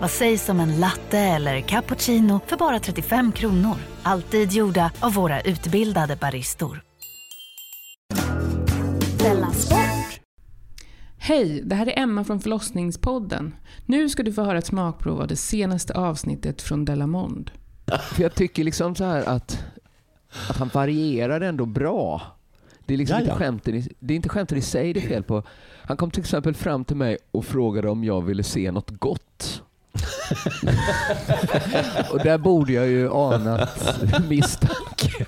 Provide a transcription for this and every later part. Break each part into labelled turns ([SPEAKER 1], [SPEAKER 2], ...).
[SPEAKER 1] Vad sägs om en latte eller cappuccino för bara 35 kronor? Alltid gjorda av våra utbildade baristor.
[SPEAKER 2] Hej, det här är Emma från förlossningspodden. Nu ska du få höra ett smakprov av det senaste avsnittet från Delamond.
[SPEAKER 3] För jag tycker liksom så här att, att han varierar ändå bra. Det är, liksom
[SPEAKER 4] Ja, ja.
[SPEAKER 3] inte skämten i, det är inte skämten i sig det är fel på. Han kom till exempel fram till mig och frågade om jag ville se något gott. och där borde jag ju anat misstanke.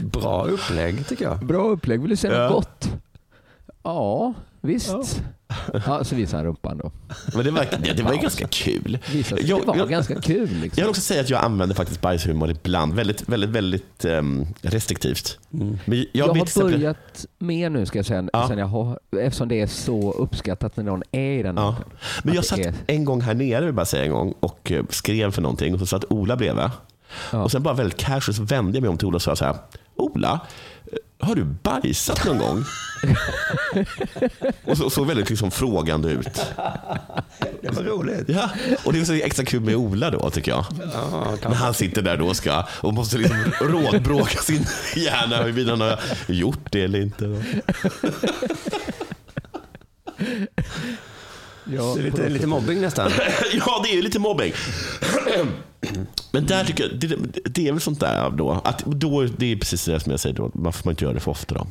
[SPEAKER 4] Bra upplägg tycker jag.
[SPEAKER 3] Bra upplägg, vill du se något
[SPEAKER 4] Ja.
[SPEAKER 3] gott? Ja, visst. Ja, så visade han rumpan då.
[SPEAKER 4] Men det var, det, det var ju ganska kul.
[SPEAKER 3] Visade sig
[SPEAKER 4] Jag-
[SPEAKER 3] det var
[SPEAKER 4] jag-
[SPEAKER 3] ganska kul.
[SPEAKER 4] Jag
[SPEAKER 3] Liksom.
[SPEAKER 4] vill också säga att jag använder faktiskt bajshumor ibland. Väldigt, väldigt, väldigt ehm, restriktivt. Men
[SPEAKER 3] Jag,
[SPEAKER 4] jag, blir till
[SPEAKER 3] har
[SPEAKER 4] exempel-
[SPEAKER 3] börjat mer nu ska jag säga,
[SPEAKER 4] Ja.
[SPEAKER 3] sen jag har, eftersom det är så uppskattat när någon är i den
[SPEAKER 4] Ja.
[SPEAKER 3] åldern.
[SPEAKER 4] Men jag
[SPEAKER 3] Att
[SPEAKER 4] satt
[SPEAKER 3] det är-
[SPEAKER 4] en gång här nere, vill jag bara säga en gång, och eh, skrev för någonting. Och så satt Ola bredvid.
[SPEAKER 3] Ja.
[SPEAKER 4] Och sen bara väldigt casual så vände jag mig om till Ola och sa så här. Ola, eh, har du bajsat någon gång? och så, såg väldigt liksom frågande ut.
[SPEAKER 5] Det var roligt.
[SPEAKER 4] Ja, och det är så extra kul med Ola då tycker jag. När han sitter där då och ska och måste liksom rådbråka sin hjärna huruvida han har gjort det eller inte.
[SPEAKER 3] Ja,
[SPEAKER 5] Det
[SPEAKER 3] på
[SPEAKER 5] är lite,
[SPEAKER 3] något
[SPEAKER 5] lite mobbing nästan.
[SPEAKER 4] Ja, det är ju lite mobbing. Men där tycker jag, det, det är väl sånt där då. Att då det är precis det som jag säger då. Man får man inte göra det för ofta då.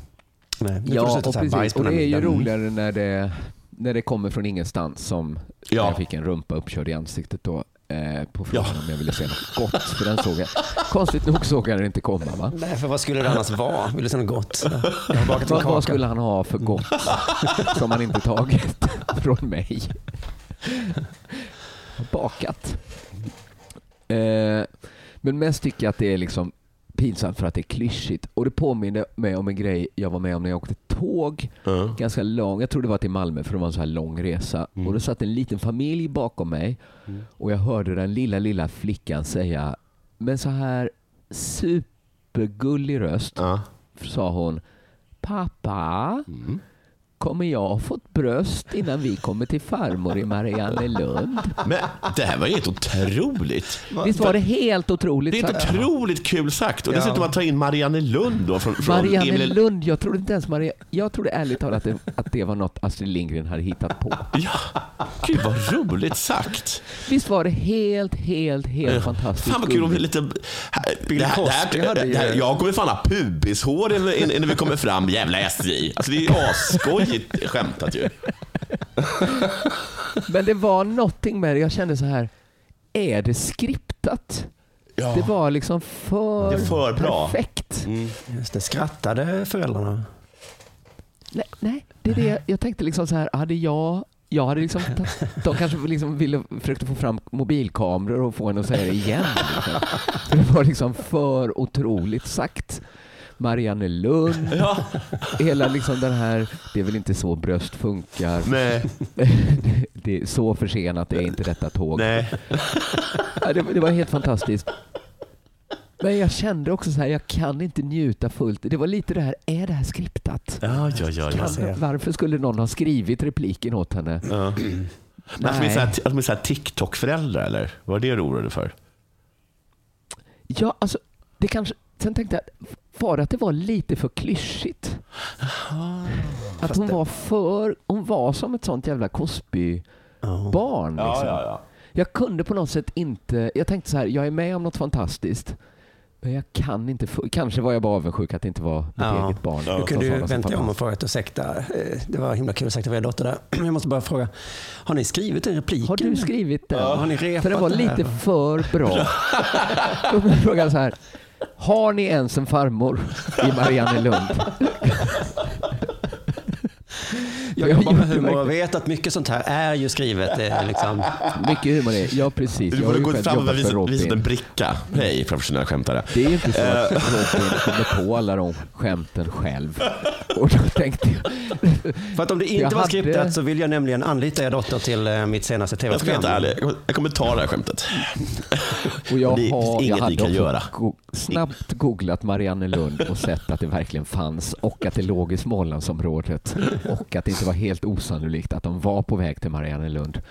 [SPEAKER 5] Nej, nu får du
[SPEAKER 3] Ja,
[SPEAKER 5] sluta
[SPEAKER 3] och
[SPEAKER 5] så här bajs
[SPEAKER 3] precis.
[SPEAKER 5] på
[SPEAKER 3] Och
[SPEAKER 5] den
[SPEAKER 3] det
[SPEAKER 5] här
[SPEAKER 3] är ju
[SPEAKER 5] middagen.
[SPEAKER 3] roligare när det, när det kommer från ingenstans som
[SPEAKER 4] Ja.
[SPEAKER 3] när jag fick en rumpa uppkörd i ansiktet då eh, på frågan
[SPEAKER 4] Ja.
[SPEAKER 3] om jag ville se något gott. För den såg jag. Konstigt nog såg jag den inte komma. Va?
[SPEAKER 5] Nej, för vad skulle det annars vara? Vill du se något gott? Jag har bakat en
[SPEAKER 3] Vad, vad
[SPEAKER 5] kaka.
[SPEAKER 3] skulle han ha för gott som han inte tagit från mig? Bakat. Eh, men mest tycker jag att det är liksom pinsamt för att det är klyschigt. Och det påminner mig om en grej jag var med om när jag åkte tåg. Ganska lång. Jag tror det var till Malmö för det var en så här lång resa. Och då satt en liten familj bakom mig och jag hörde den lilla, lilla flickan säga med så här supergullig röst
[SPEAKER 4] Ja.
[SPEAKER 3] sa hon Pappa,
[SPEAKER 4] Mm.
[SPEAKER 3] kommer jag ha fått bröst innan vi kommer till farmor i Mariannelund?
[SPEAKER 4] Men det här var ju helt otroligt.
[SPEAKER 3] Visst var det helt otroligt?
[SPEAKER 4] Det är
[SPEAKER 3] sagt?
[SPEAKER 4] ett otroligt kul sagt. Och
[SPEAKER 5] Ja.
[SPEAKER 4] dessutom att ta in Marianne Lund då från, från Emil-
[SPEAKER 3] Mariannelund, jag trodde inte ens Maria, jag trodde ärligt talat att det, att det var något Astrid Lindgren hade hittat på.
[SPEAKER 4] Ja, gud vad roligt sagt.
[SPEAKER 3] Visst var det helt, helt, helt fantastiskt?
[SPEAKER 4] Fan vad kul om vi
[SPEAKER 3] gulligt?
[SPEAKER 4] lite...
[SPEAKER 5] Bill
[SPEAKER 4] Det här, det
[SPEAKER 5] Cosby hade
[SPEAKER 4] här,
[SPEAKER 5] ju-
[SPEAKER 4] det här, jag kommer fan ha pubishår innan- innan vi kommer fram, jävla SJ. Alltså det är ju asskojigt skämtat ju.
[SPEAKER 3] Men det var någonting med det, jag kände så här, är det skriptat?
[SPEAKER 4] Ja.
[SPEAKER 3] Det var liksom för,
[SPEAKER 4] Det är för bra.
[SPEAKER 3] perfekt.
[SPEAKER 5] Just det, skrattade föräldrarna?
[SPEAKER 3] Nej, nej det är det. jag tänkte liksom så här, hade jag jag hade liksom, de kanske liksom ville, försökte få fram mobilkameror och få henne att säga det igen. Liksom. För det var liksom för otroligt sagt. Marianne Lund,
[SPEAKER 4] Ja.
[SPEAKER 3] hela liksom den här, det är väl inte så bröst funkar.
[SPEAKER 4] Nej,
[SPEAKER 3] Det är så försenat, det är inte detta tåg.
[SPEAKER 4] nej.
[SPEAKER 3] Ja, Det, det var helt fantastiskt. Men jag kände också så här, jag kan inte njuta fullt. Det var lite det här, är det här skriptat?
[SPEAKER 4] Ja, ja, ja. ja.
[SPEAKER 5] Alltså,
[SPEAKER 3] Varför skulle någon ha skrivit repliken åt henne?
[SPEAKER 4] ja. Men att de är så här- att de är så här TikTok-föräldrar eller? Var det det du oroade dig för?
[SPEAKER 3] Ja, alltså, det kanske... Sen tänkte jag, var det att det var lite för klyschigt? Att hon var för... Hon var som ett sånt jävla Cosby-barn. Liksom.
[SPEAKER 4] ja.
[SPEAKER 3] Jag kunde på något sätt inte... Jag tänkte så här, jag är med om något fantastiskt. Men jag kan inte, få- kanske var jag bara avundsjuk att det inte var mitt
[SPEAKER 5] Ja.
[SPEAKER 3] eget barn.
[SPEAKER 5] Du kunde ju
[SPEAKER 3] Som fanns-
[SPEAKER 5] vänta jag om och fråga till ursäkta. eh, Det var himla kul att ursäkta för er dotter där. Jag måste bara fråga, har ni skrivit den repliken?
[SPEAKER 3] Har du skrivit den?
[SPEAKER 5] Ja, har ni repat
[SPEAKER 3] För den var
[SPEAKER 5] det här?
[SPEAKER 3] lite för bra. Då frågar jag så här. Har ni ens en farmor i Mariannelund? Jag
[SPEAKER 5] Jag jobbar med
[SPEAKER 3] gjorde
[SPEAKER 5] humor och
[SPEAKER 3] verkligen-
[SPEAKER 5] vet att mycket sånt här är ju skrivet. eh, Liksom.
[SPEAKER 3] Mycket humor är Ja, precis.
[SPEAKER 4] Du
[SPEAKER 3] Jag har
[SPEAKER 4] borde
[SPEAKER 3] ju
[SPEAKER 4] gått
[SPEAKER 3] själv
[SPEAKER 4] fram och
[SPEAKER 3] jobbat för
[SPEAKER 4] visat, visat en
[SPEAKER 3] Robin.
[SPEAKER 4] bricka. Hej, framför sina skämtare.
[SPEAKER 3] Det är ju inte så att
[SPEAKER 5] Eh.
[SPEAKER 3] Robin kommer på alla de skämten själv. Och då tänkte jag,
[SPEAKER 5] För att om det inte
[SPEAKER 3] Jag
[SPEAKER 5] var
[SPEAKER 3] hade-
[SPEAKER 5] skriptat så vill jag nämligen anlita er dotter till eh, mitt senaste
[SPEAKER 4] Jag ska vara
[SPEAKER 5] tv-program.
[SPEAKER 4] helt ärlig, jag kommer- jag kommer ta det här skämtet.
[SPEAKER 3] och jag,
[SPEAKER 4] Det är
[SPEAKER 3] har,
[SPEAKER 4] inget
[SPEAKER 3] jag
[SPEAKER 4] vi
[SPEAKER 3] hade
[SPEAKER 4] kan
[SPEAKER 3] också
[SPEAKER 4] göra.
[SPEAKER 3] go- snabbt googlat Mariannelund och sett att det verkligen fanns och att det låg i Smålandsområdet och att det inte var helt osannolikt att de var på väg till Mariannelund.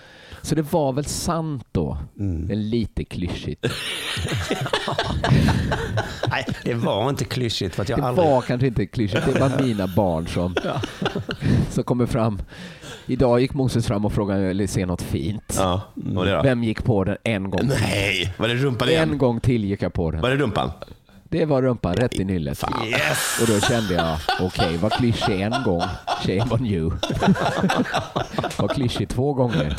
[SPEAKER 3] Så det var väl sant då,
[SPEAKER 4] Mm.
[SPEAKER 3] men lite klyschigt.
[SPEAKER 5] Nej, det var inte klyschigt för att jag
[SPEAKER 3] Det
[SPEAKER 5] aldrig...
[SPEAKER 3] var kanske inte klyschigt, det var mina barn som, som kommer fram. Idag gick Moses fram och frågade om jag ville se något fint.
[SPEAKER 4] Ja, vad var det då?
[SPEAKER 3] Vem gick på den en gång?
[SPEAKER 4] Nej, var det rumpan
[SPEAKER 3] En
[SPEAKER 4] igen?
[SPEAKER 3] gång till gick jag på den.
[SPEAKER 4] Var det rumpan?
[SPEAKER 3] Det var rumpan rätt i nyllet.
[SPEAKER 4] Yes!
[SPEAKER 3] Och då kände jag, okej, var klyschig en gång, shame on you. var klyschig två gånger,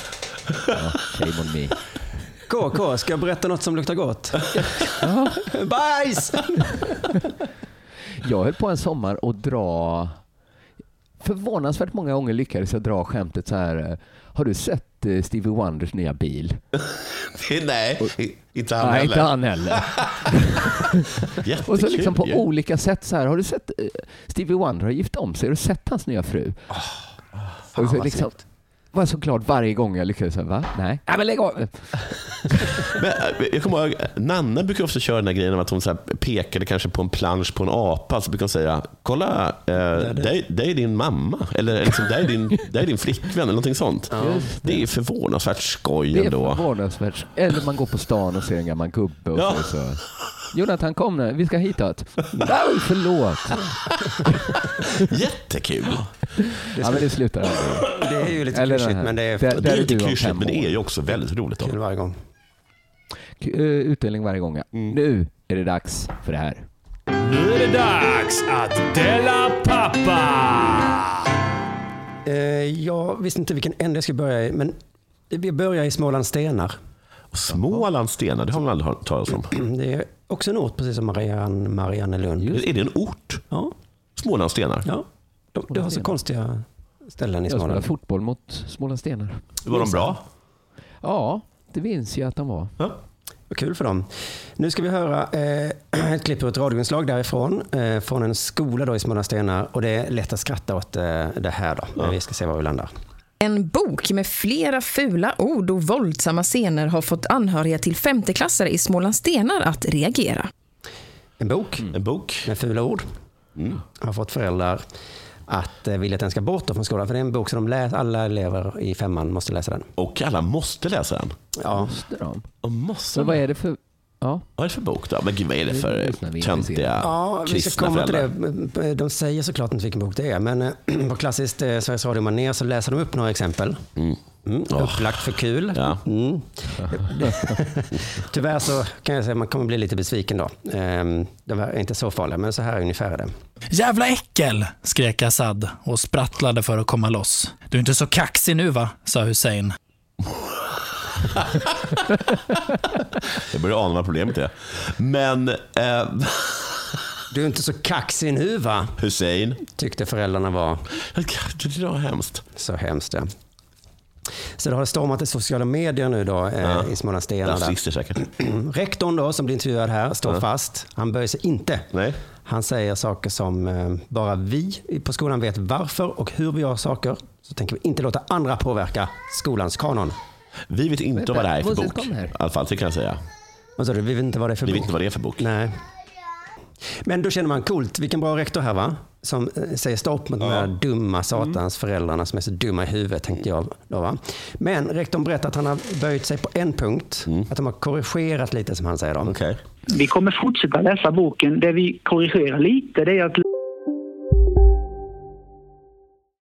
[SPEAKER 3] ja, shame on me.
[SPEAKER 5] KK, ska jag berätta något som luktar gott? Bajs!
[SPEAKER 3] Jag höll på en sommar och dra, förvånansvärt många gånger lyckades jag dra skämtet så här, eh, har du sett eh, Stevie Wonders nya bil?
[SPEAKER 4] Nej, inte han
[SPEAKER 3] Nej,
[SPEAKER 4] heller.
[SPEAKER 3] inte han heller.
[SPEAKER 4] Jättekul
[SPEAKER 3] Och så liksom på
[SPEAKER 4] ju.
[SPEAKER 3] olika sätt så här, har du sett eh, Stevie Wonder har gift om sig, har du sett hans nya fru?
[SPEAKER 4] Ah,
[SPEAKER 3] och så
[SPEAKER 5] vad
[SPEAKER 3] liksom, var jag så glad varje gång jag lyckades, så här, va? Nej, Nej men lägg av.
[SPEAKER 4] Men eh, jag kommer ihåg, Nanna brukar ofta köra den här grejen om att hon så här pekade kanske på en plansch på en apa, så brukar hon säga “Kolla, eh, där, där är din mamma” eller liksom, “Där är din, där är din flickvän” eller någonting sånt.
[SPEAKER 3] Just
[SPEAKER 4] Det är förvånansvärt skoj
[SPEAKER 3] Det är
[SPEAKER 4] ändå.
[SPEAKER 3] förvånansvärt. Eller man går på stan och ser en gammal gubbe och
[SPEAKER 4] Ja.
[SPEAKER 3] så, så. Jonathan kom nu, vi ska hitåt. Nej, förlåt.
[SPEAKER 4] Jättekul.
[SPEAKER 3] Ja, men det slutar aldrig.
[SPEAKER 5] Det är ju lite
[SPEAKER 3] Eller den
[SPEAKER 5] klyschigt
[SPEAKER 3] här.
[SPEAKER 5] men det är
[SPEAKER 3] Där-
[SPEAKER 4] Det
[SPEAKER 3] där
[SPEAKER 4] är lite
[SPEAKER 3] du om
[SPEAKER 4] klyschigt
[SPEAKER 3] fem
[SPEAKER 4] men det
[SPEAKER 3] år.
[SPEAKER 4] är ju också väldigt roligt. Då.
[SPEAKER 5] kul varje gång.
[SPEAKER 3] K- eh, Utdelning varje gång. ja. Nu är det dags för det här.
[SPEAKER 6] Nu är det dags att dela pappa!
[SPEAKER 5] Eh, jag visste inte vilken ände jag skulle börja i, men vi börjar i Smålands stenar.
[SPEAKER 4] Smålandsstenar, det har man aldrig hört talas om.
[SPEAKER 5] Det är också en ort precis som Marianne, Mariannelund.
[SPEAKER 4] Är det en ort?
[SPEAKER 5] Ja,
[SPEAKER 4] Smålandsstenar?
[SPEAKER 5] ja. De, de har så konstiga ställen i
[SPEAKER 3] Jag spelade
[SPEAKER 5] Småland.
[SPEAKER 3] fotboll mot Smålandsstenar.
[SPEAKER 4] Var de bra?
[SPEAKER 3] Ja, det minns jag att de var.
[SPEAKER 4] Ja.
[SPEAKER 5] Vad Kul för dem. Nu ska vi höra eh, ett klipp ur ett radioinslag därifrån. Eh, från en skola då i Smålandsstenar. Och det är lätt att skratta åt eh, det här då. Men vi ska se var vi landar.
[SPEAKER 7] En bok med flera fula ord och våldsamma scener har fått anhöriga till femteklassare i Smålandstenar att reagera.
[SPEAKER 5] En bok
[SPEAKER 3] Mm.
[SPEAKER 4] En bok?
[SPEAKER 5] med fula ord.
[SPEAKER 4] Mm.
[SPEAKER 5] Har fått föräldrar att eh, vilja att den ska bort då från skolan. För det är en bok som de lä- alla elever i femman måste läsa den.
[SPEAKER 4] Och alla måste läsa den.
[SPEAKER 5] Ja.
[SPEAKER 3] Måste de?
[SPEAKER 4] Och måste
[SPEAKER 3] Så vad är det för... Ja,
[SPEAKER 4] Vad är det för bok då? Men gud, vad är det
[SPEAKER 3] Det
[SPEAKER 4] för
[SPEAKER 3] lyssnar vi
[SPEAKER 4] töntiga
[SPEAKER 5] Ja, vi ska
[SPEAKER 4] kristna
[SPEAKER 5] komma till
[SPEAKER 4] föräldrar?
[SPEAKER 5] det. De säger såklart inte vilken bok det är, men eh, på klassiskt eh, Sveriges Radio-manér så läser de upp några exempel. Mm, Upplagt för kul.
[SPEAKER 4] Ja.
[SPEAKER 5] Mm. Tyvärr så kan jag säga att man kommer bli lite besviken då. Ehm, De här är inte så farliga, men så här ungefär är det.
[SPEAKER 6] Jävla äckel! skrek Assad och sprattlade för att komma loss. Du är inte så kaxig nu va? sa Hussein.
[SPEAKER 4] Jag börjar ana vad problemet är. Men eh,
[SPEAKER 5] Du är inte så kaxig nu va?
[SPEAKER 4] Hussein,
[SPEAKER 5] Tyckte föräldrarna var
[SPEAKER 4] det var hemskt.
[SPEAKER 5] så hemskt. det. Så det har stormat i sociala medier nu då eh, i Smålandsstenar. där.
[SPEAKER 4] Rasister säkert.
[SPEAKER 5] Rektorn då, som blir intervjuad här, står fast. Han böjer sig inte.
[SPEAKER 4] Nej.
[SPEAKER 5] Han säger saker som eh, bara vi på skolan vet varför och hur vi gör saker. Så tänker vi inte låta andra påverka skolans kanon.
[SPEAKER 4] Vi vet inte vad det här är för
[SPEAKER 3] Moses,
[SPEAKER 4] bok.
[SPEAKER 3] kom här.
[SPEAKER 4] I alla fall, det kan jag säga.
[SPEAKER 5] Vad sa du? Vi vet inte vad det är för
[SPEAKER 4] Vi
[SPEAKER 5] bok.
[SPEAKER 4] vet inte vad det är för bok.
[SPEAKER 5] Nej. Men då känner man coolt, vilken bra rektor här va? Som eh, säger stopp mot de här
[SPEAKER 4] Mm.
[SPEAKER 5] dumma satans föräldrarna som är så dumma i huvudet tänkte jag. Då, va? Men rektorn berättar att han har böjt sig på en punkt. Att de har korrigerat lite som han säger då.
[SPEAKER 4] Mm. Okej.
[SPEAKER 8] Vi kommer fortsätta läsa boken. Det vi korrigerar lite det är att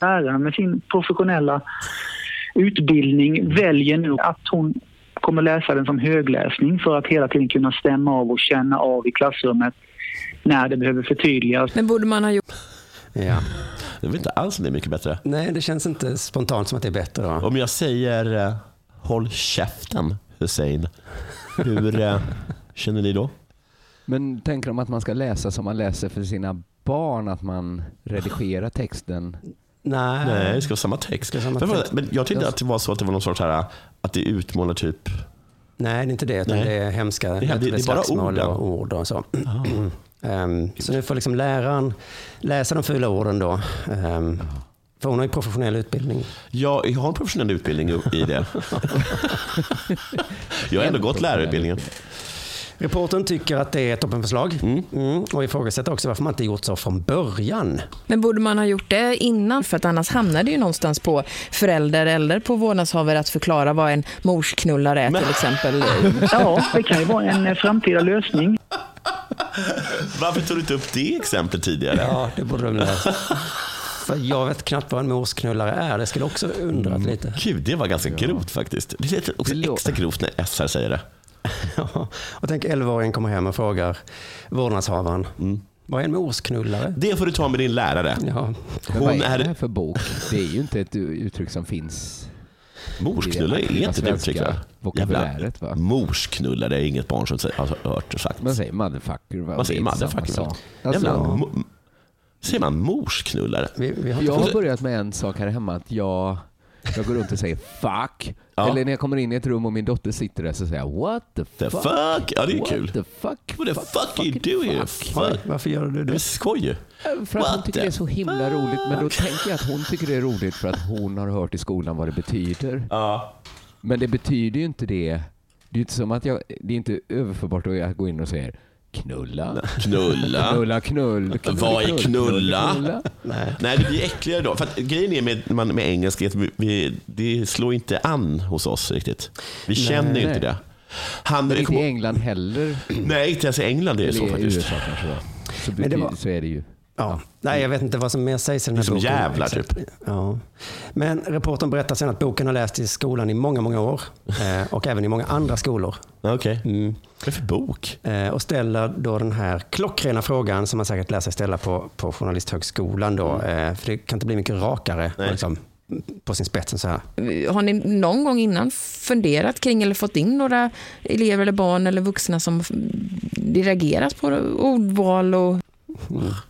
[SPEAKER 8] Läraren med sin professionella utbildning väljer nu att hon kommer läsa den som högläsning för att hela tiden kunna stämma av och känna av i klassrummet när det behöver förtydligas.
[SPEAKER 7] Men borde man ha gjort...
[SPEAKER 5] Ja.
[SPEAKER 4] Det var inte alls det är mycket bättre.
[SPEAKER 5] Nej, det känns inte spontant som att det är bättre. Va?
[SPEAKER 4] Om jag säger eh, håll käften Hussein, hur eh, känner ni då?
[SPEAKER 3] Men tänker de att man ska läsa som man läser för sina barn? Att man redigerar texten?
[SPEAKER 5] Nej.
[SPEAKER 4] Nej, det ska vara samma text.
[SPEAKER 5] vara samma
[SPEAKER 4] men, vad-
[SPEAKER 5] text.
[SPEAKER 4] men jag tyckte att det var så att det var någon sorts här, eh, att det utmålar typ...
[SPEAKER 5] Nej, det är inte det. Utan
[SPEAKER 4] Nej.
[SPEAKER 5] det är hemska
[SPEAKER 4] Det är- det är bara
[SPEAKER 5] slagsmål
[SPEAKER 4] orden.
[SPEAKER 5] och ord och så. Ehm, så nu får liksom läraren läsa de fula orden då. Ehm, för hon har ju professionell utbildning.
[SPEAKER 4] Jag, jag har en professionell utbildning i det. jag har ändå gått lärarutbildningen.
[SPEAKER 5] Reportern tycker att det är ett toppenförslag mm. och ifrågasätter också varför man inte gjort så från början.
[SPEAKER 7] Men borde man ha gjort det innan? För att annars hamnar det ju någonstans på förälder eller på vårdnadshavare att förklara vad en morsknullare är till exempel.
[SPEAKER 8] Ja, det kan ju vara en eh, framtida lösning.
[SPEAKER 4] Varför tog du inte upp det exemplet tidigare?
[SPEAKER 5] Ja, det borde de läsa. För jag vet knappt vad en morsknullare är. Det skulle jag också undrat lite.
[SPEAKER 4] Gud, det var ganska grovt faktiskt. Det är också extra grovt när SR säger det.
[SPEAKER 5] Ja. Och tänk 11-åringen kommer hem och frågar vårdnadshavaren. Vad är en morsknullare?
[SPEAKER 4] Det får du ta med din lärare.
[SPEAKER 5] Ja.
[SPEAKER 3] Men vad
[SPEAKER 4] Hon
[SPEAKER 3] är det här
[SPEAKER 4] är...
[SPEAKER 3] för bok? Det är ju inte ett uttryck som finns
[SPEAKER 4] Morsknullare
[SPEAKER 3] i det
[SPEAKER 4] är inte ett
[SPEAKER 3] svenska
[SPEAKER 4] uttryck va?
[SPEAKER 3] vokabuläret, va?
[SPEAKER 4] morsknullare är inget barn som säger, har hört och sagt.
[SPEAKER 3] Man säger motherfucker. Va?
[SPEAKER 4] Man säger
[SPEAKER 3] Det är samma
[SPEAKER 4] motherfucker.
[SPEAKER 3] sak.
[SPEAKER 4] Jävla
[SPEAKER 3] Alltså,
[SPEAKER 4] mo- Säger man morsknullare?
[SPEAKER 5] Vi, vi har inte
[SPEAKER 3] jag har börjat med en sak här hemma, att jag, jag går runt och säger fuck.
[SPEAKER 4] Ja.
[SPEAKER 3] Eller när jag kommer in i ett rum och min dotter sitter där så säger jag what the fuck.
[SPEAKER 4] The fuck? Ja, det är
[SPEAKER 3] What
[SPEAKER 4] kul.
[SPEAKER 3] the fuck?
[SPEAKER 4] What the fuck you do here? Fuck.
[SPEAKER 5] Varför gör du
[SPEAKER 4] Det är
[SPEAKER 5] det?
[SPEAKER 4] skoj ju.
[SPEAKER 3] För att hon
[SPEAKER 4] What
[SPEAKER 3] tycker
[SPEAKER 4] the
[SPEAKER 3] det är så himla roligt. Men då tänker jag att hon tycker det är roligt för att hon har hört i skolan vad det betyder.
[SPEAKER 4] Ja.
[SPEAKER 3] Men det betyder ju inte det. Det är ju inte som att jag, det är inte överförbart att jag går in och säger knulla,
[SPEAKER 4] Knulla.
[SPEAKER 3] knulla, knull. knull
[SPEAKER 4] Vad är knulla?
[SPEAKER 3] knulla.
[SPEAKER 4] Nej, det blir äckligare då. För att grejen är med, man- med engelska är att vi- vi, det slår inte an hos oss riktigt. Vi känner ju inte det. Han,
[SPEAKER 3] Men
[SPEAKER 4] jag
[SPEAKER 3] inte i
[SPEAKER 4] kommer-
[SPEAKER 3] England heller.
[SPEAKER 4] nej, inte ens i England är det så
[SPEAKER 3] Eller i
[SPEAKER 4] faktiskt.
[SPEAKER 3] USA kanske då. Så,
[SPEAKER 5] Men det
[SPEAKER 3] betyder-
[SPEAKER 5] var-
[SPEAKER 3] så är det ju.
[SPEAKER 5] Ja. Nej, jag vet inte vad som mer sägs i den här
[SPEAKER 4] Det är som
[SPEAKER 5] boken.
[SPEAKER 4] jävlar,
[SPEAKER 5] Exakt. Ja. Men reportern berättar sen att boken har lästs i skolan i många, många år eh, och även i många andra skolor.
[SPEAKER 4] Ja, Okej. Vad är det för bok?
[SPEAKER 5] Eh, Och ställer då den här klockrena frågan som man säkert lär sig ställa på, på Journalisthögskolan. Då, eh, för det kan inte bli mycket rakare
[SPEAKER 4] Mm. Nej.
[SPEAKER 5] liksom, på sin spets än så här.
[SPEAKER 7] Har ni någon gång innan funderat kring eller fått in några elever eller barn eller vuxna som det reageras på ordval och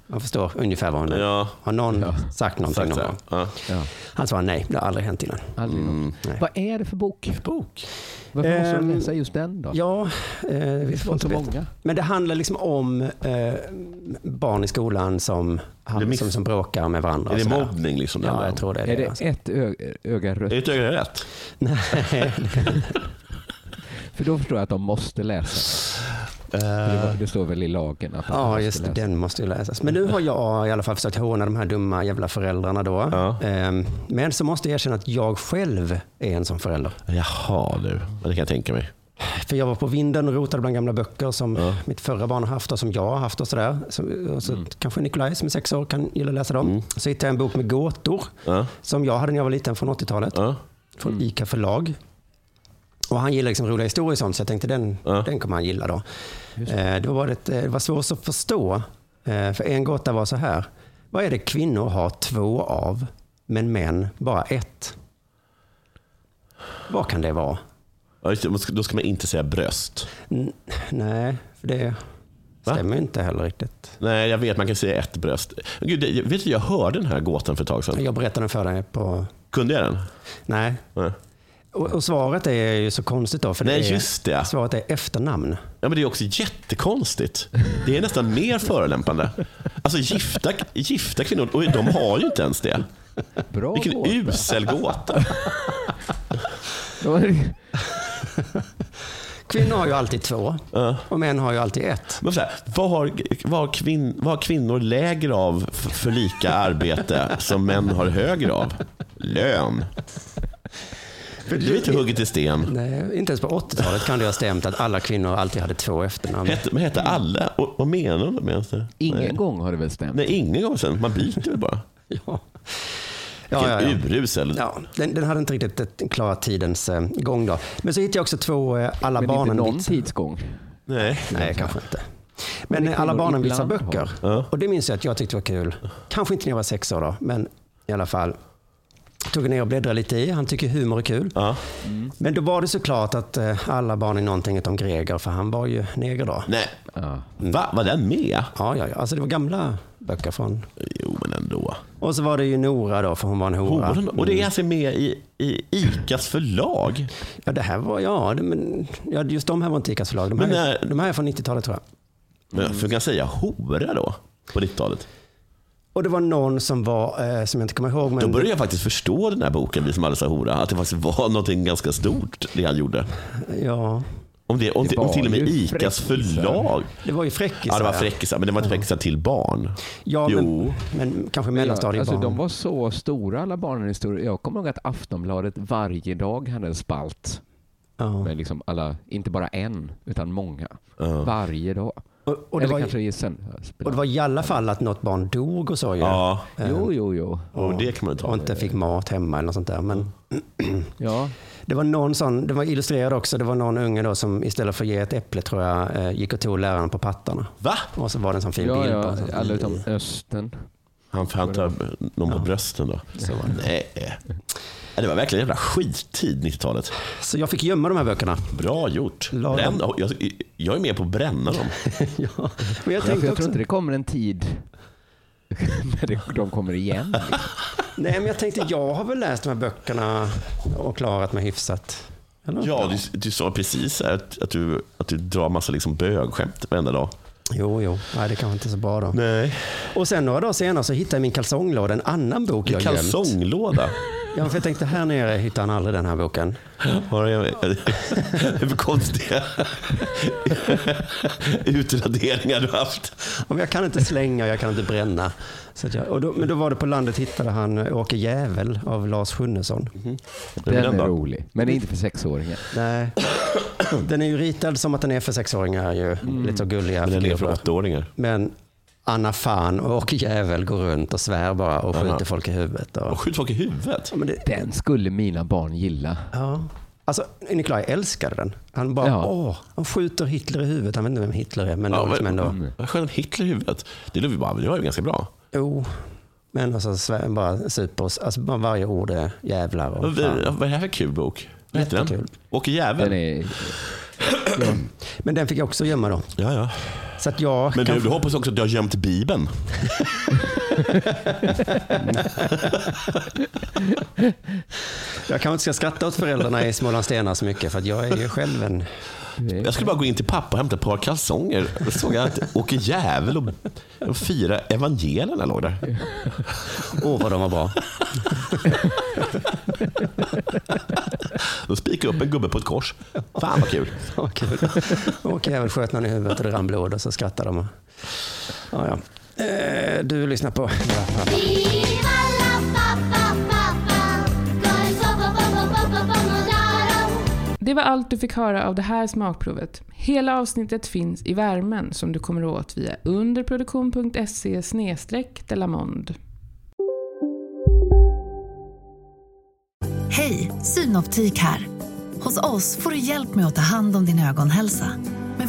[SPEAKER 5] Man förstår ungefär vad hon
[SPEAKER 4] Mm. Ja.
[SPEAKER 5] Har någon sagt någonting
[SPEAKER 4] Sagt
[SPEAKER 5] någon
[SPEAKER 4] så här.
[SPEAKER 5] gång?
[SPEAKER 4] Ja.
[SPEAKER 5] Han svarar nej, det har aldrig hänt innan.
[SPEAKER 3] Aldrig
[SPEAKER 4] Mm.
[SPEAKER 3] något. Vad är det för bok?
[SPEAKER 4] Bok.
[SPEAKER 3] Varför måste
[SPEAKER 5] Ehm,
[SPEAKER 3] de läsa just den då?
[SPEAKER 5] Ja, eh, vi får
[SPEAKER 3] var
[SPEAKER 5] inte
[SPEAKER 3] så
[SPEAKER 5] veta.
[SPEAKER 3] många.
[SPEAKER 5] Men det handlar liksom om eh, barn i skolan som,
[SPEAKER 4] Det är miss-
[SPEAKER 5] som, som bråkar med varandra.
[SPEAKER 4] Är
[SPEAKER 5] och
[SPEAKER 4] det
[SPEAKER 5] sådär.
[SPEAKER 4] mobbning liksom? det
[SPEAKER 5] Ja,
[SPEAKER 4] handlar om?
[SPEAKER 5] jag tror det är,
[SPEAKER 3] Är
[SPEAKER 5] det. alltså.
[SPEAKER 3] det ett ö- öga rött?
[SPEAKER 4] Är ett öga rätt?
[SPEAKER 5] Nej,
[SPEAKER 4] Eh.
[SPEAKER 3] För då förstår jag att de måste läsa. För det, var-
[SPEAKER 4] Eh.
[SPEAKER 3] det står väl i lagen att de
[SPEAKER 5] ja,
[SPEAKER 3] måste
[SPEAKER 5] just det.
[SPEAKER 3] läsa.
[SPEAKER 5] Den måste ju läsas. Men nu har jag i alla fall försökt håna de här dumma jävla föräldrarna då.
[SPEAKER 4] Ja.
[SPEAKER 5] Ehm, Men så måste jag erkänna att jag själv är en sån förälder.
[SPEAKER 4] Jaha du, Ja, det kan jag tänka mig.
[SPEAKER 5] För jag var på vinden och rotade bland gamla böcker som mitt förra barn har haft och som jag har haft och sådär. Så, och så
[SPEAKER 3] Mm.
[SPEAKER 5] Kanske Nikolaj som är sex år kan gilla att läsa dem. Så hittade jag en bok med gåtor
[SPEAKER 4] Ja.
[SPEAKER 5] som jag hade när jag var liten från 80-talet.
[SPEAKER 4] Ja.
[SPEAKER 5] från
[SPEAKER 4] Mm.
[SPEAKER 5] ICA förlag. Och han gillar liksom roliga historier och sånt, så jag tänkte den,
[SPEAKER 4] Ja.
[SPEAKER 5] den kommer han gilla. Då. Eh, det, var ett, eh, det var svårt att förstå, eh, för en gåta var så här. Vad är det kvinnor har två av, men män bara ett? Vad kan det vara?
[SPEAKER 4] Ja, just det, man ska- Då ska man inte säga bröst.
[SPEAKER 5] N- nej, för det stämmer ju inte heller riktigt.
[SPEAKER 4] Nej, jag vet. Man kan säga ett bröst. Gud, det- vet du, jag hörde den här gåtan för ett tag sedan.
[SPEAKER 5] Jag berättade den för dig på...
[SPEAKER 4] Kunde jag den?
[SPEAKER 5] Nej.
[SPEAKER 4] Nej.
[SPEAKER 5] Och, och svaret är ju så konstigt då. För
[SPEAKER 4] Nej,
[SPEAKER 5] det är,
[SPEAKER 4] just det.
[SPEAKER 5] Svaret är efternamn.
[SPEAKER 4] Ja, men det är också jättekonstigt. Det är nästan mer förolämpande. Alltså gifta, gifta kvinnor, och de har ju inte ens det.
[SPEAKER 3] Bra
[SPEAKER 4] Vilken
[SPEAKER 3] gåta.
[SPEAKER 4] usel gåta.
[SPEAKER 5] Kvinnor har ju alltid två och män har ju alltid ett.
[SPEAKER 4] Men så här, vad, har, vad, har kvin, vad har kvinnor lägre av f- för lika arbete som män har högre av? Lön. Det är inte hugget i sten.
[SPEAKER 5] Nej, inte ens på 80-talet kan det ha stämt att alla kvinnor alltid hade två efternamn.
[SPEAKER 4] Hette, men hette alla? Och, vad menar de med ens det?
[SPEAKER 5] Ingen
[SPEAKER 3] gång har det väl stämt?
[SPEAKER 4] Nej, ingen gång sen. Man byter väl bara.
[SPEAKER 5] Ja.
[SPEAKER 4] Vilken
[SPEAKER 5] ja, ja.
[SPEAKER 4] urusel.
[SPEAKER 5] Ja, den, den hade inte riktigt eh, klarat tidens eh, gång då. Men så hittade jag också två eh, Alla
[SPEAKER 3] Men inte
[SPEAKER 5] barnen
[SPEAKER 3] någon
[SPEAKER 5] tidsgång?
[SPEAKER 4] Nej.
[SPEAKER 5] Nej, kanske inte. Men
[SPEAKER 3] det
[SPEAKER 5] eh,
[SPEAKER 3] kan
[SPEAKER 5] Alla
[SPEAKER 3] nog
[SPEAKER 5] barnen visar
[SPEAKER 3] ibland
[SPEAKER 5] böcker. Och det minns jag att jag tyckte var kul. Kanske inte när jag var sex år då, men i alla fall. Tog ner och bläddrade lite i. Han tycker humor är kul. Men då var det såklart att eh, alla barn i någonting om Greger, för han var ju neger då.
[SPEAKER 4] Nej. Va? Var den med?
[SPEAKER 5] Ja, ja, ja. Alltså det var gamla böcker från...
[SPEAKER 4] Jo, men ändå.
[SPEAKER 5] Och så var det ju Nora då, för hon var en hora.
[SPEAKER 4] Horan, och det är alltså med i, i ICAs förlag?
[SPEAKER 5] Mm. Ja, det här var, ja, det, men, ja just de här var inte ICAs förlag. De här,
[SPEAKER 4] Men
[SPEAKER 5] de här är från 90-talet tror jag.
[SPEAKER 4] Men för kan säga hora då? På 90-talet?
[SPEAKER 5] Och det var någon som var, eh, som jag inte kommer ihåg. Men
[SPEAKER 4] Då började jag faktiskt förstå den här boken, Vi som aldrig sa hora, att det faktiskt var någonting ganska stort det han gjorde.
[SPEAKER 5] Ja.
[SPEAKER 4] Om, det, om,
[SPEAKER 5] Det
[SPEAKER 4] det om
[SPEAKER 5] var
[SPEAKER 4] till och med
[SPEAKER 5] ju
[SPEAKER 4] ICAs
[SPEAKER 5] fräckisar.
[SPEAKER 4] förlag.
[SPEAKER 5] Det var ju fräckisar,
[SPEAKER 4] Ja, det var
[SPEAKER 5] ja.
[SPEAKER 4] fräckisar, men det var inte fräckisar till barn.
[SPEAKER 5] Ja, men-
[SPEAKER 4] jo.
[SPEAKER 5] men kanske
[SPEAKER 3] alltså,
[SPEAKER 5] mellanstadiebarn.
[SPEAKER 3] De var så stora alla barnen i historien. Jag kommer ihåg att Aftonbladet varje dag hade en spalt. Med liksom alla, inte bara en, utan många. Varje dag.
[SPEAKER 5] och det
[SPEAKER 3] Eller
[SPEAKER 5] var ju-
[SPEAKER 3] kanske det är sen.
[SPEAKER 5] Och det var i alla fall att något barn dog och så ju.
[SPEAKER 4] Ja.
[SPEAKER 3] Jo, jo, jo.
[SPEAKER 4] Och det kan man ta.
[SPEAKER 5] Och inte fick mat hemma eller något sånt där. Men
[SPEAKER 3] ja.
[SPEAKER 5] Det var någon sån, det var illustrerad också, det var någon unge då som istället för att ge ett äpple tror jag eh, gick och tog läraren på pattarna.
[SPEAKER 4] Va?
[SPEAKER 5] Och så var det en sån fin
[SPEAKER 3] ja,
[SPEAKER 5] bild på
[SPEAKER 3] ja,
[SPEAKER 5] en sån-
[SPEAKER 3] alla utom östen.
[SPEAKER 4] Han, han tar någon på brösten då. Nej. Ja, Det var verkligen en jävla skittid, 90-talet.
[SPEAKER 5] Så Alltså, jag fick gömma de här böckerna.
[SPEAKER 4] Bra gjort.
[SPEAKER 5] La dem.
[SPEAKER 4] Bränna, jag, jag är med på att bränna dem.
[SPEAKER 5] ja, men
[SPEAKER 3] Ja,
[SPEAKER 5] jag
[SPEAKER 3] för jag
[SPEAKER 5] tänkte
[SPEAKER 3] tror
[SPEAKER 5] också...
[SPEAKER 3] inte det kommer en tid när det- de kommer igen.
[SPEAKER 5] Nej, men jag tänkte jag har väl läst de här böckerna och klarat mig hyfsat. Eller?
[SPEAKER 4] Ja, du, du sa precis här att, att, du, att du drar massa liksom bögskämt varenda dag.
[SPEAKER 5] Jo, jo. Nej, det kanske inte är så bra då.
[SPEAKER 4] Nej.
[SPEAKER 5] Och sen några dagar senare så hittade jag i min kalsonglåda en annan bok jag gömt.
[SPEAKER 4] Kalsonglåda.
[SPEAKER 5] Ja, för jag tänkte här nere hittar han aldrig den här boken.
[SPEAKER 4] Har jag, hur konstiga utraderingar du har haft.
[SPEAKER 5] Ja, men Jag kan inte slänga och jag kan inte bränna. Så att jag, och då, men då var det på landet hittade han eh, Åke Jävel av Lars Sjunnesson.
[SPEAKER 4] Mhm.
[SPEAKER 3] Den är rolig, men inte för sexåringar.
[SPEAKER 5] Nej. Den är ju ritad som att den är för sexåringar ju. Lite så gulliga
[SPEAKER 4] Mm. Men den är för
[SPEAKER 5] figurer.
[SPEAKER 4] åttaåringar.
[SPEAKER 5] Men Anna Fan och Åke Jävel går runt och svär bara och skjuter folk i huvudet. Och...
[SPEAKER 4] Och skjut folk i huvudet?
[SPEAKER 5] Ja, men det,
[SPEAKER 3] Den skulle mina barn gilla.
[SPEAKER 5] ja. Alltså, Nikolaj älskade den. Han bara,
[SPEAKER 3] Ja.
[SPEAKER 5] åh, han skjuter Hitler i huvudet. Han vet inte vem Hitler är, men det var liksom ändå...
[SPEAKER 4] Jag sköt en Hitler i huvudet. Det låter ju bara, det var ju ganska bra.
[SPEAKER 5] Jo, men alltså svär- bara super. Alltså bara varje ord är jävlar och
[SPEAKER 4] Vad
[SPEAKER 5] fan.
[SPEAKER 4] vad är det här för kul bok? Vad heter den?
[SPEAKER 5] Jättekul.
[SPEAKER 4] Åke Jävel?
[SPEAKER 5] Men den fick jag också gömma då.
[SPEAKER 4] Ja, ja.
[SPEAKER 5] Så att jag
[SPEAKER 4] Men
[SPEAKER 5] kan
[SPEAKER 4] du, du hoppas också att du har gömt Bibeln?
[SPEAKER 5] Jag kanske inte ska skratta åt föräldrarna i Smålandstenar så mycket för att jag är ju själv en...
[SPEAKER 4] Jag skulle bara gå in till pappa och hämta ett par kalsonger. Då såg jag att Åke Jävel och de fyra evangelierna låg där.
[SPEAKER 5] Åh, vad de var bra.
[SPEAKER 4] De spikade upp en gubbe på ett kors. Fan vad kul.
[SPEAKER 5] Vad kul. Åker jävel sköt någon i huvudet och det rann blod och så skrattade de. Ja, ja. Eh, Du lyssnar på...
[SPEAKER 2] Det var allt du fick höra av det här smakprovet. Hela avsnittet finns i värmen som du kommer åt via underproduktion.se delamond.
[SPEAKER 1] Hej, Synoptik här. Hos oss får du hjälp med att ta hand om din ögonhälsa. Med